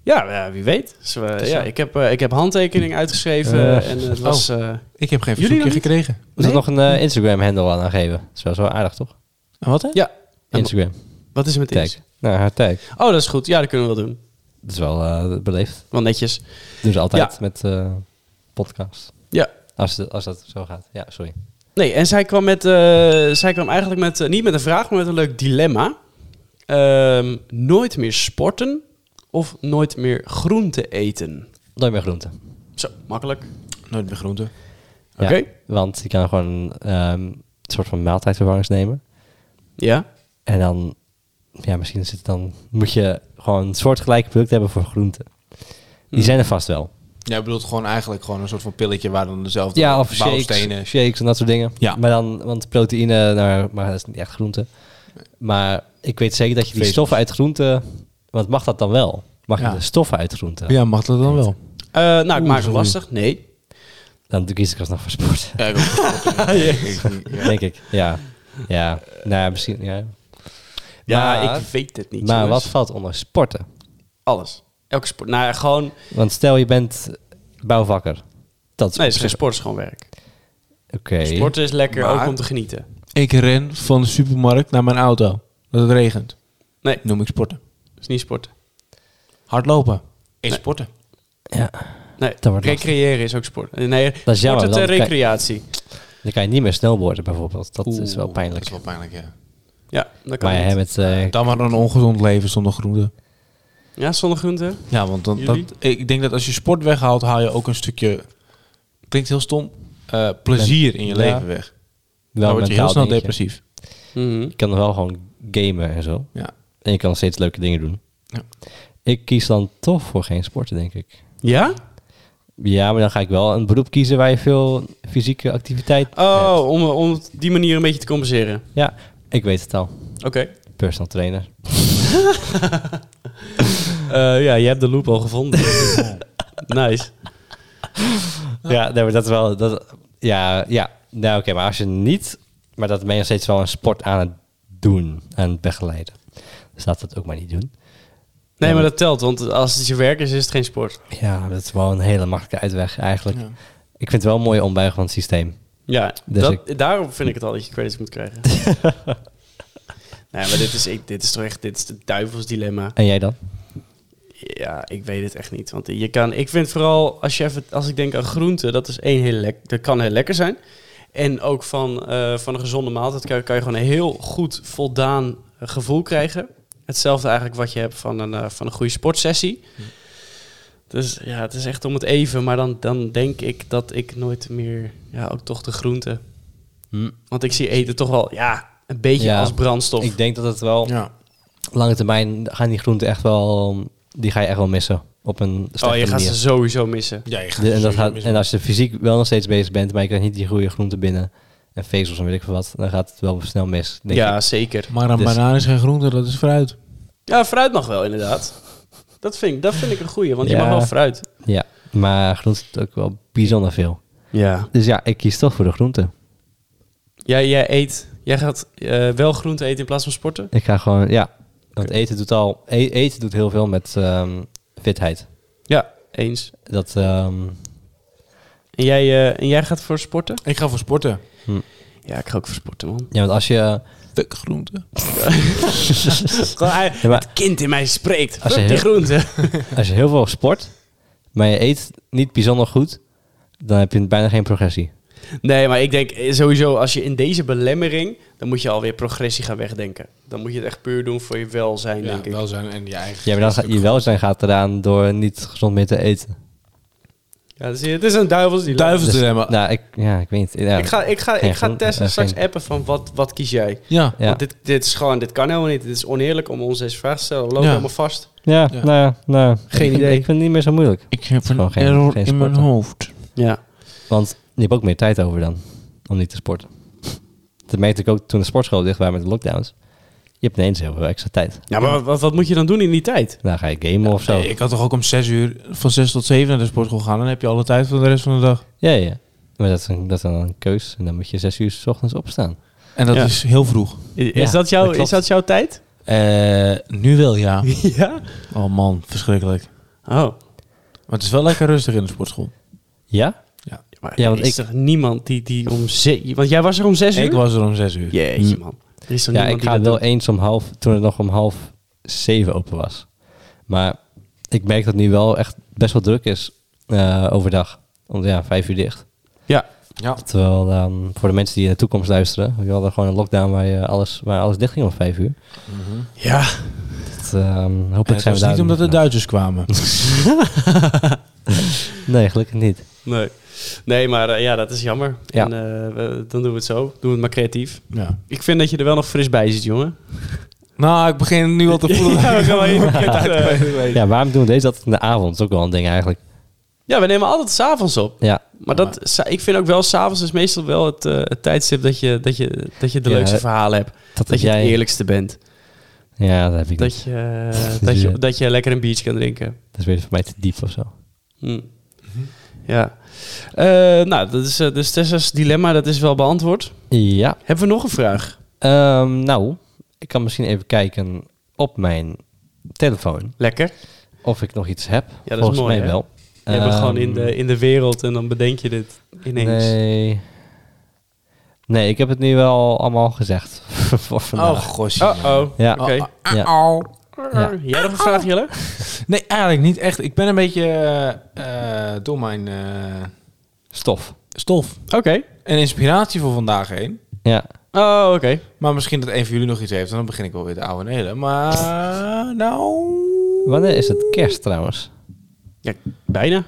A: Ja, ja, wie weet. Dus, eh,
C: Tessa.
A: ja, ik, heb, eh, ik heb handtekening uitgeschreven
B: Eh,
A: en het was. eh,
C: Ik heb
A: Jullie
C: geen verzoekje
A: nog niet?
C: gekregen.
B: Moet er nog een eh, Instagram-handle aan geven? Dat is wel zo aardig, toch?
C: En wat hè?
A: ja, En-
B: Instagram.
A: wat is er met
B: Tag.
A: dit?
B: Nou, haar tag.
A: Oh, dat is goed. Ja, dat kunnen we wel doen.
B: Dat is wel eh, beleefd.
A: Wel netjes.
B: Doen ze altijd
A: Ja.
B: met eh podcast.
A: Ja.
B: Als, de- als dat zo gaat. Ja, sorry.
A: Nee, en zij kwam, met, eh, zij kwam eigenlijk met, eh, niet met een vraag, maar met een leuk dilemma. Ehm, nooit meer sporten of nooit meer groente eten?
B: Nooit meer groenten.
A: Zo, makkelijk.
C: Nooit meer groente.
A: Oké.
B: Want je kan gewoon ehm, een soort van maaltijdvervangers nemen.
A: Ja.
B: En dan, ja, misschien zit het dan, moet je gewoon een soortgelijke product hebben voor groenten. Die zijn er vast wel.
C: Jij bedoelt gewoon eigenlijk gewoon een soort van pilletje waar dan dezelfde
B: Ja, of
C: bouwstenen...
B: shakes, shakes en dat soort dingen.
C: Ja.
B: Maar dan, want proteïne, nou, maar dat is niet echt groente. Maar ik weet zeker dat je die
C: Vezels.
B: stoffen uit groenten, want mag dat dan wel? Mag
C: Ja.
B: je de stoffen uit groenten?
C: Ja, mag dat dan wel?
A: Eh, nou, ik maak het
C: sorry.
A: lastig. Nee.
B: Dan kies ik alsnog voor sport,
C: Ja, ik ook.
B: denk ik. Ja, ja. Nou ja, misschien, ja.
A: Ja,
B: Maar-
A: ik weet het niet.
B: Maar
A: jongens.
B: wat valt onder sporten?
A: Alles. Elke sport. Nou, ja, gewoon.
B: Want stel je bent bouwvakker. Dat
A: Nee, het is
B: is op
A: geen
B: zich-
A: sport, het is gewoon werk.
B: Oké.
A: Sporten is lekker,
C: Maar-
A: ook om te genieten.
C: Ik ren van de supermarkt naar mijn auto. Dat het regent.
A: Nee.
C: Noem ik sporten.
A: Het is niet sporten.
C: Hardlopen. Is
A: Nee.
C: sporten.
B: Ja,
A: Nee,
B: Dat wordt
A: recreëren is ook sport. Nee,
B: Dat is
A: sport
B: jammer,
A: het
B: dan
A: eh,
B: kijk-
A: recreatie.
B: dan kan je niet meer snowboarden bijvoorbeeld. Dat is wel
C: Oeh,
B: pijnlijk.
C: Dat is wel pijnlijk, ja.
A: Ja, dat kan
B: maar
A: niet.
B: ja, met, eh,
C: Dan maar een ongezond leven zonder groente.
A: Ja, zonder groente.
C: Ja, want dan,
A: Jullie?
C: dat- ik denk dat als je sport weghaalt, haal je ook een stukje... Klinkt heel stom. eh, plezier in je
B: Ja.
C: leven weg.
B: wel
C: Dan word je heel
B: mentaal
C: snel
B: dingetje.
C: nou depressief.
A: Mhm.
B: Je kan nog wel gewoon gamen en zo.
C: Ja.
B: En je kan nog steeds leuke dingen doen.
C: Ja.
B: Ik kies dan toch voor geen sporten, denk ik.
A: Ja?
B: Ja, maar dan ga ik wel een beroep kiezen waar je veel fysieke activiteit hebt.
A: Oh, om, om op die manier een beetje te compenseren.
B: Ja, ik weet het al.
A: Oké.
B: Personal trainer.
A: Eh, ja, je hebt de loop al gevonden. nice.
B: Ja, nee, maar dat is wel... Dat, ja, ja. Nou, oké, maar als je niet... Maar dat ben je nog steeds wel een sport aan het doen. Aan het begeleiden. Dus laat dat ook maar niet doen.
A: Nee, maar dat telt, want als het je werk is, is het geen sport.
B: Ja, dat is wel een hele makkelijke uitweg eigenlijk.
C: Ja.
B: Ik vind het wel een mooie ombuiging van het systeem.
A: Ja,
B: Dus
A: dat, daarom vind ik het al dat je credits moet krijgen. nee, maar dit is, ik, dit is toch echt dit is de duivels dilemma.
B: En jij dan?
A: Ja, ik weet het echt niet. Want je kan, ik vind vooral, als, je even, als ik denk aan groenten, dat is één heel lekker. Dat kan heel lekker zijn. En ook van, eh, van een gezonde maaltijd kan, kan je gewoon een heel goed voldaan eh, gevoel krijgen. Hetzelfde eigenlijk wat je hebt van een, eh, van een goede sportsessie. Dus ja, het is echt om het even. Maar dan, dan denk ik dat ik nooit meer, ja, ook toch de groenten. Want ik zie eten toch wel, ja, een beetje
B: Ja,
A: als brandstof.
B: Ik denk dat het wel...
C: Ja.
B: Lange termijn gaan die groenten echt wel... Die ga je echt wel missen. Op een
A: oh,
B: slechte
A: je gaat ze
B: manier.
A: sowieso missen.
C: Ja, je gaat dus-
B: De- en, dat
C: sowieso
B: gaat,
C: mis-
B: en als je fysiek wel nog steeds bezig bent... maar je krijgt niet die goede groenten binnen... en vezels en weet ik veel wat... dan gaat het wel snel mis, denk
A: ja,
B: ik.
A: zeker.
C: Maar een
B: Dus-
C: banaan is geen groente, dat is fruit.
A: Ja, fruit mag wel, inderdaad. Dat vind ik, dat vind ik een goeie, want je
B: Ja.
A: mag wel fruit.
B: Ja, maar groenten is ook wel bijzonder veel.
A: Ja.
B: Dus ja, ik kies toch voor de groente.
A: Jij, jij eet, jij gaat eh, wel groente eten in plaats van sporten?
B: Ik ga gewoon, ja. Want eten doet al, e- eten doet heel veel met ehm, fitheid.
A: Ja, eens.
B: Dat, ehm,
A: En jij, eh, en jij gaat voor sporten?
C: Ik ga voor sporten.
A: Ja, ik ga ook voor sporten, man.
B: ja, want als je,
D: Fuck groente.
B: Ja, maar-
A: het kind in mij spreekt.
B: Als je
A: Fuck die
B: heel-
A: groente.
B: als je heel veel sport, maar je eet niet bijzonder goed, dan heb je bijna geen progressie.
A: Nee, maar ik denk eh, sowieso, als je in deze belemmering, dan moet je alweer progressie gaan wegdenken. Dan moet je het echt puur doen voor je welzijn,
C: Ja,
A: denk ik.
C: welzijn en je eigen.
B: Ja, maar dan gaat, je welzijn gaat eraan door niet gezond meer te eten.
A: Ja, dus het is een duivels die
C: Duivels dilemma.
B: Nou, ik, ja, ik weet niet. Ja,
A: Ik ga, ik ga,
B: Geen
A: ik ga
B: groen-
A: testen
B: eh,
A: straks
B: geen-
A: appen van wat, wat kies jij.
C: Ja.
B: ja.
A: Want Oh, dit, dit is gewoon, dit kan helemaal niet. Dit is oneerlijk om ons deze vraag te stellen. We lopen
C: Ja.
A: helemaal vast.
B: Ja,
C: Ja.
B: nou ja, nou.
A: Geen
B: ik, vind-
A: idee.
B: Ik vind het niet meer zo moeilijk.
D: Ik heb een
B: Gewoon geen-
D: error
B: geen
D: in mijn
B: sporten.
D: hoofd.
A: Ja.
B: Want je hebt ook meer tijd over dan om niet te sporten. Dat merkte ik ook toen de sportscholen dicht waren met de lockdowns. Je hebt ineens heel veel extra tijd.
A: Ja, maar wat, wat moet je dan doen in die tijd?
B: Dan ga je gamen of zo.
C: Nee, ik had toch ook om 6 uur, van 6 tot 7 naar de sportschool gaan. Dan heb je alle tijd voor de rest van de dag.
B: Ja, ja. Maar dat is, een, dat is dan een keus. En dan moet je zes uur s ochtends opstaan.
C: En dat
A: Ja.
C: is heel vroeg.
A: Is,
B: Ja,
A: dat, jouw,
B: dat klopt.
A: is dat jouw tijd?
C: Eh, nu wel, ja.
A: ja.
C: Oh man, verschrikkelijk.
A: Oh.
C: Maar het is wel lekker rustig in de sportschool.
B: Ja?
A: Maar
B: Ja,
A: ja,
B: want
A: is
B: ik-
A: er niemand die, die om zes... Want jij was er om zes uur?
C: Ik was er om 6 uur.
A: Jeetje, man. Er is toch
B: Mm. Ja,
A: niemand
B: ik ga
A: die dat
B: wel
A: doet?
B: eens om half, toen het nog om half zeven open was. Maar ik merk dat het nu wel echt best wel druk is eh, overdag. Want ja, vijf uur dicht.
A: Ja.
C: Ja.
B: Terwijl ehm, voor de mensen die in de toekomst luisteren, we hadden gewoon een lockdown waar, je alles, waar alles dicht ging om vijf uur.
A: Ja.
B: Dat, ehm,
C: En
B: hopelijk
C: het
B: zijn we
C: was
B: daar
C: niet omdat de
B: vanaf.
C: Duitsers kwamen.
B: Nee, gelukkig niet.
A: Nee. Nee, maar eh, ja, dat is jammer.
B: Ja.
A: En eh, we- dan doen we het zo. Doen we het maar creatief.
C: Ja.
A: Ik vind dat je er wel nog fris bij zit, jongen.
C: Nou, ik begin nu al te voelen.
A: Ja, we gaan wel even verkeerd, eh.
B: Ja, waarom doen we deze altijd in de avond? Dat is ook wel een ding eigenlijk.
A: Ja, we nemen altijd s'avonds op.
B: Ja,
A: Maar dat, sa- ik vind ook wel, s'avonds is meestal wel het, eh, het tijdstip dat je, dat, je, dat je de
B: Ja,
A: leukste verhalen hebt.
B: dat,
A: Dat
B: heb
A: je het
B: jij...
A: eerlijkste bent.
B: Ja, dat heb ik
A: Dat
B: niet.
A: je, eh, dat, je, dat je lekker een biertje kan drinken.
B: Dat is weer voor mij te diep of zo.
A: Hm.
B: Mhm.
A: Ja. Eh, nou, dat is, eh, dus Tessa's dilemma, dat is wel beantwoord.
B: Ja.
A: Hebben we nog een vraag?
B: Ehm, nou, ik kan misschien even kijken op mijn telefoon
A: Lekker.
B: of ik nog iets heb.
A: dat is
B: Volgens
A: mooi,
B: mij
A: hè?
B: wel.
A: Je bent gewoon in
B: Ehm,
A: de, in de wereld en dan bedenk je dit ineens.
B: Nee. Nee, ik heb het nu wel allemaal gezegd voor vandaag.
C: Oh, gosh.
A: Oh-oh.
B: ja.
A: Oké.
B: Ja.
C: Au.
B: Ja.
A: Jij nog een vraag, Jelle?
C: Nee, eigenlijk niet echt. Ik ben een beetje eh, eh, door mijn eh,
B: Stof.
C: stof
A: Oké.
C: en inspiratie voor vandaag heen.
B: Ja.
A: Oh, oké.
C: Maar misschien dat een van jullie nog iets heeft. En dan begin ik wel weer de oude en hele. Maar nou...
B: Wanneer is het kerst trouwens?
A: Ja, bijna.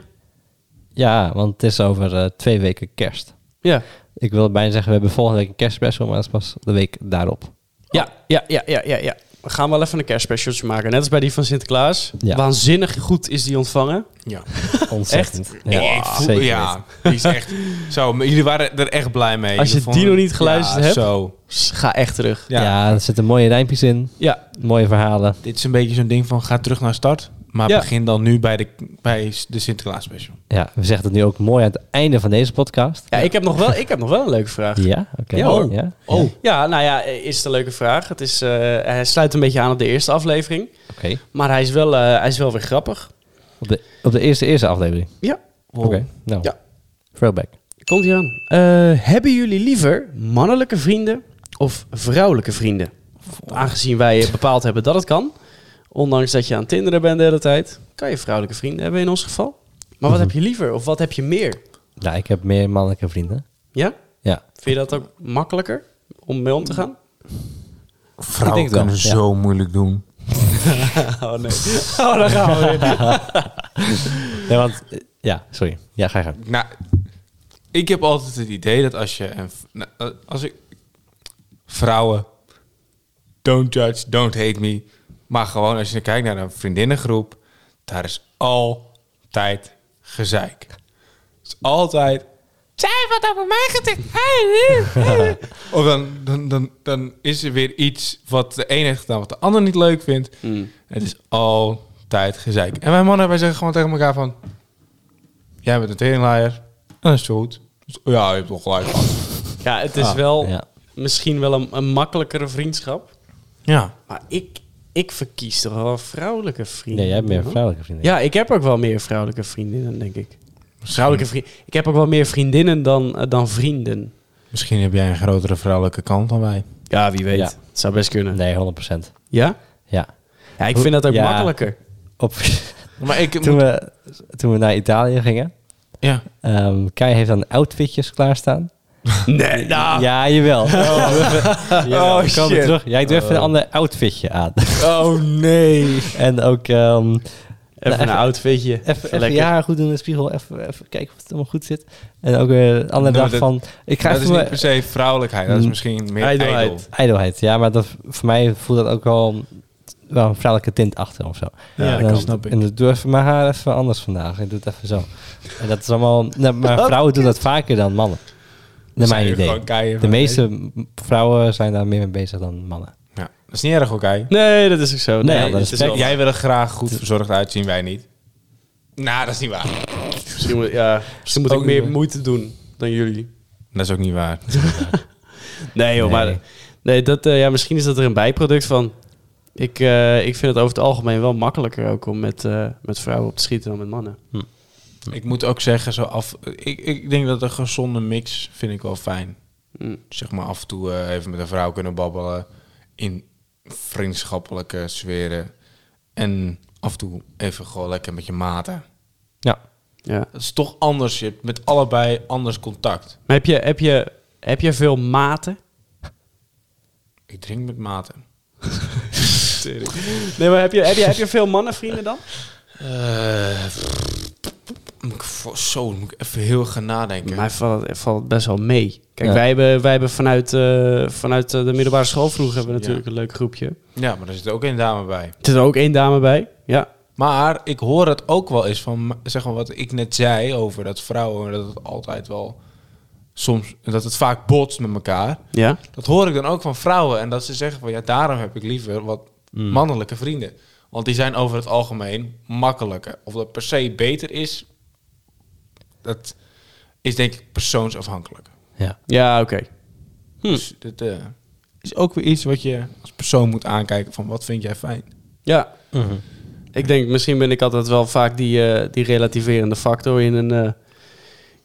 B: Ja, want het is over eh, twee weken kerst.
A: Ja.
B: Ik wil bijna zeggen, we hebben volgende week een kerstspecial, maar dat is pas de week daarop.
A: Ja, ja, ja, ja, ja, ja. We gaan wel even een kerstspecialtje maken. Net als bij die van Sinterklaas.
B: Ja.
A: Waanzinnig goed is die ontvangen.
C: Ja.
B: Ontzettend.
C: Ja, ik voel-
B: zeker weten.
C: ja die is echt... Zo, maar jullie waren er echt blij mee.
A: Als je
C: Jullie vonden-
A: die nog niet geluisterd
C: Ja,
A: hebt.
C: zo.
A: S- Ga echt terug.
C: Ja.
B: Ja. er zitten mooie rijmpjes in,
A: Ja,
B: mooie verhalen.
C: Dit is een beetje zo'n ding van ga terug naar start. Maar
A: Ja.
C: begin dan nu bij de, bij de Sinterklaas special.
B: Ja, we zeggen het nu ook mooi aan het einde van deze podcast.
A: ja ik, heb nog wel, ik heb nog wel een leuke vraag.
B: Ja, oké.
A: Ja, hoor.
B: ja.
A: Oh. Ja, nou ja, eh, is het een leuke vraag. Het is, eh, hij sluit een beetje aan op de eerste aflevering.
B: Oké.
A: Maar hij is wel, eh, hij is wel weer grappig.
B: Op, de, op de eerste, eerste aflevering.
A: Ja,
B: Oké, nou.
A: Ja.
B: Throwback.
A: komt hier aan. Eh, hebben jullie liever mannelijke vrienden of vrouwelijke vrienden? Aangezien wij bepaald hebben dat het kan. Ondanks dat je aan Tinderen bent de hele tijd. Kan je vrouwelijke vrienden hebben in ons geval. Maar wat heb je liever of wat heb je meer?
B: Nou, ik heb meer mannelijke vrienden.
A: Ja?
B: Ja.
A: Vind je dat ook makkelijker om mee om te gaan?
C: Vrouwen
B: Ik denk het wel, ja.
C: moeilijk doen.
A: Oh nee. Oh, daar gaan we weer.
B: Nee, want... eh, Ja, sorry. Ja, ga je gang.
C: Nou, ik heb altijd het idee dat als je... Een, v- nou, eh, als ik... Vrouwen... Don't judge, don't hate me. Maar gewoon als je kijkt naar een vriendinnengroep... Daar is altijd gezeik. Het is altijd... Zij heeft wat over mij gezegd. Hey, eh, eh." Of dan, dan, dan, dan is er weer iets wat de ene heeft gedaan... wat de ander niet leuk vindt. Het is altijd gezeik. En wij mannen, wij zeggen gewoon tegen elkaar van... Jij bent een teringlaaier. En dat is het goed.
E: Ja, je hebt toch gelijk.
A: Ah, Ja, het is wel
B: ja.
A: misschien wel een, een makkelijkere vriendschap.
C: Ja.
A: Maar ik, ik verkies toch wel vrouwelijke vrienden.
B: Nee, jij hebt meer
A: hoor.
B: vrouwelijke vrienden.
A: Ja, ik heb ook wel meer vrouwelijke vriendinnen, denk ik. Vrouwelijke vrienden. Ik heb ook wel meer vriendinnen dan, eh, dan vrienden.
E: Misschien heb jij een grotere vrouwelijke kant dan wij.
A: Ja, wie weet.
B: Ja.
A: Het zou best kunnen.
B: Nee, 100%.
A: Ja?
B: Ja.
A: Ja, ik
B: Hoe-
A: vind dat ook
B: ja.
A: makkelijker.
B: Op,
E: Maar ik
B: toen, we, toen we naar Italië gingen,
E: Ja.
B: ehm Kai heeft dan outfitjes klaarstaan.
A: Nee, nou.
B: Ja, jawel. Oh,
E: Oh, shit.
B: terug. Jij doet even een ander outfitje aan.
E: Oh nee.
B: en ook ehm,
A: Even
B: even-
A: een outfitje.
B: even, even je
A: lekker.
B: haar goed doen in de spiegel. Even, even kijken of het allemaal goed zit. En ook weer een andere
E: Nee, maar
B: dag
E: dat-
B: van... Ik ga
E: Dat is
B: even
E: niet
B: mijn
E: per se vrouwelijkheid. Dat is
B: Mm.
E: misschien meer
A: Ijdelheid.
E: ijdel.
B: ijdelheid. Ja, maar dat, voor mij voelt dat ook wel, wel een vrouwelijke tint achter of zo.
A: Ja, dat
B: En dan-
A: kan, snap ik.
B: En doe even mijn haar even anders vandaag. Ik doe het even zo. En dat is allemaal... Nou, maar vrouwen doen dat vaker dan mannen. Naar mijn idee. De meeste m- vrouwen zijn daar meer mee bezig dan mannen.
E: Ja, dat is niet erg oké.
A: Nee, dat is ook zo. Nee,
B: ja, dat
A: het
B: is
A: wel-
B: gek.
E: Jij wil er graag goed verzorgd uitzien, wij niet. Nou, dat is niet waar.
A: Misschien moet, ja, misschien moet
E: Ook
A: ik meer
E: niet.
A: moeite doen dan jullie.
E: Dat is ook niet waar.
A: Nee, joh,
B: Nee.
A: maar nee, dat, eh, ja, misschien is dat er een bijproduct van. Ik, eh, ik vind het over het algemeen wel makkelijker ook om met, eh, met vrouwen op te schieten dan met mannen.
E: Ik moet ook zeggen, zo af, ik, ik denk dat een gezonde mix vind ik wel fijn.
A: Mm.
E: Zeg maar af en toe eh, even met een vrouw kunnen babbelen in vriendschappelijke sferen. En af en toe even gewoon lekker met je maten.
B: Ja.
A: Ja.
E: Dat is toch anders. Je hebt met allebei anders contact.
A: Maar heb je, heb, je, heb je veel maten?
E: Ik drink met maten.
A: Nee, maar heb je, heb je, heb je veel mannenvrienden dan?
E: Eh, pff, moet ik voor- zo, moet ik even heel gaan nadenken.
A: Maar valt, valt best wel mee. Kijk,
B: Ja.
A: wij hebben, wij hebben vanuit, eh, vanuit eh, de middelbare school vroeger hebben we natuurlijk een leuk groepje.
E: Ja, maar er zit ook een dame bij.
A: Er zit er ook één dame bij. Ja.
E: Maar ik hoor het ook wel eens van, m- zeg maar wat ik net zei over dat vrouwen, dat het altijd wel soms, dat het vaak botst met elkaar.
A: Ja.
E: Dat hoor ik dan ook van vrouwen en dat ze zeggen van ja, daarom heb ik liever wat mannelijke vrienden. Want die zijn over het algemeen makkelijker. Of dat per se beter is, dat is denk ik persoonsafhankelijk.
B: Ja.
A: Ja, oké. Hm.
E: Dus dat eh, is ook weer iets wat je als persoon moet aankijken van wat vind jij fijn.
A: Ja. Ik denk, misschien ben ik altijd wel vaak die, eh, die relativerende factor in een, eh,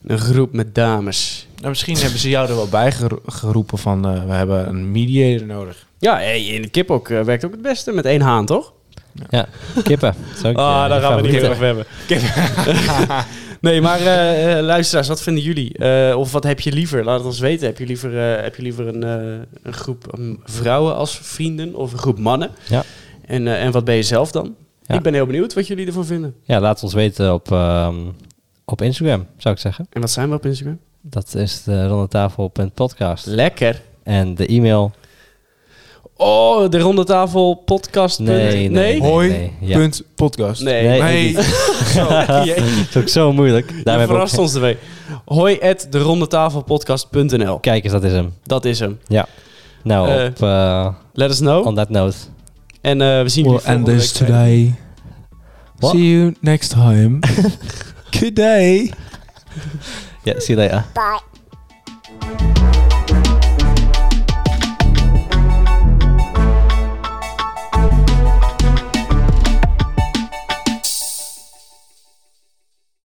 A: in een groep met dames.
E: Nou, misschien hebben ze jou er wel bij gero- geroepen van eh, we hebben een mediator nodig.
A: Ja, hey, in de kip ook eh, werkt ook het beste met één haan, toch?
B: Ja, kippen. Dat is ook,
A: Ah,
B: eh, je favoriete.
A: hebben. nee, maar eh, eh, luisteraars, wat vinden jullie? Eh, of wat heb je liever? Laat het ons weten. Heb je liever, eh, heb je liever een, eh, een groep mm, vrouwen als vrienden of een groep mannen?
B: Ja.
A: En, eh, en wat ben je zelf dan?
B: Ja.
A: Ik ben heel benieuwd wat jullie ervan vinden.
B: Ja, laat ons weten op, ehm, op Instagram, zou ik zeggen.
A: En wat zijn we op Instagram?
B: Dat is de rondetafel.podcast.
A: Lekker.
B: En de e-mail...
A: Oh, de ronde tafel podcast.
B: Nee, nee, nee.
E: Hoi,
B: ja.
E: punt podcast.
A: Nee.
B: Nee,
E: Nee.
B: ik- dat is ook zo moeilijk. Daar
A: Daar
B: hebben we
A: verrast
B: ook...
A: ons ermee. Hoi at de rondetafelpodcast.nl.
B: Kijk eens, dat is hem.
A: Dat is hem.
B: Ja. Nou,
A: Eh.
B: op, eh,
A: Let us know.
B: on that note.
A: en eh, we zien jullie volgende week.
E: today.
B: What?
E: See you next time. Good day.
B: Yeah, see you later.
F: Bye.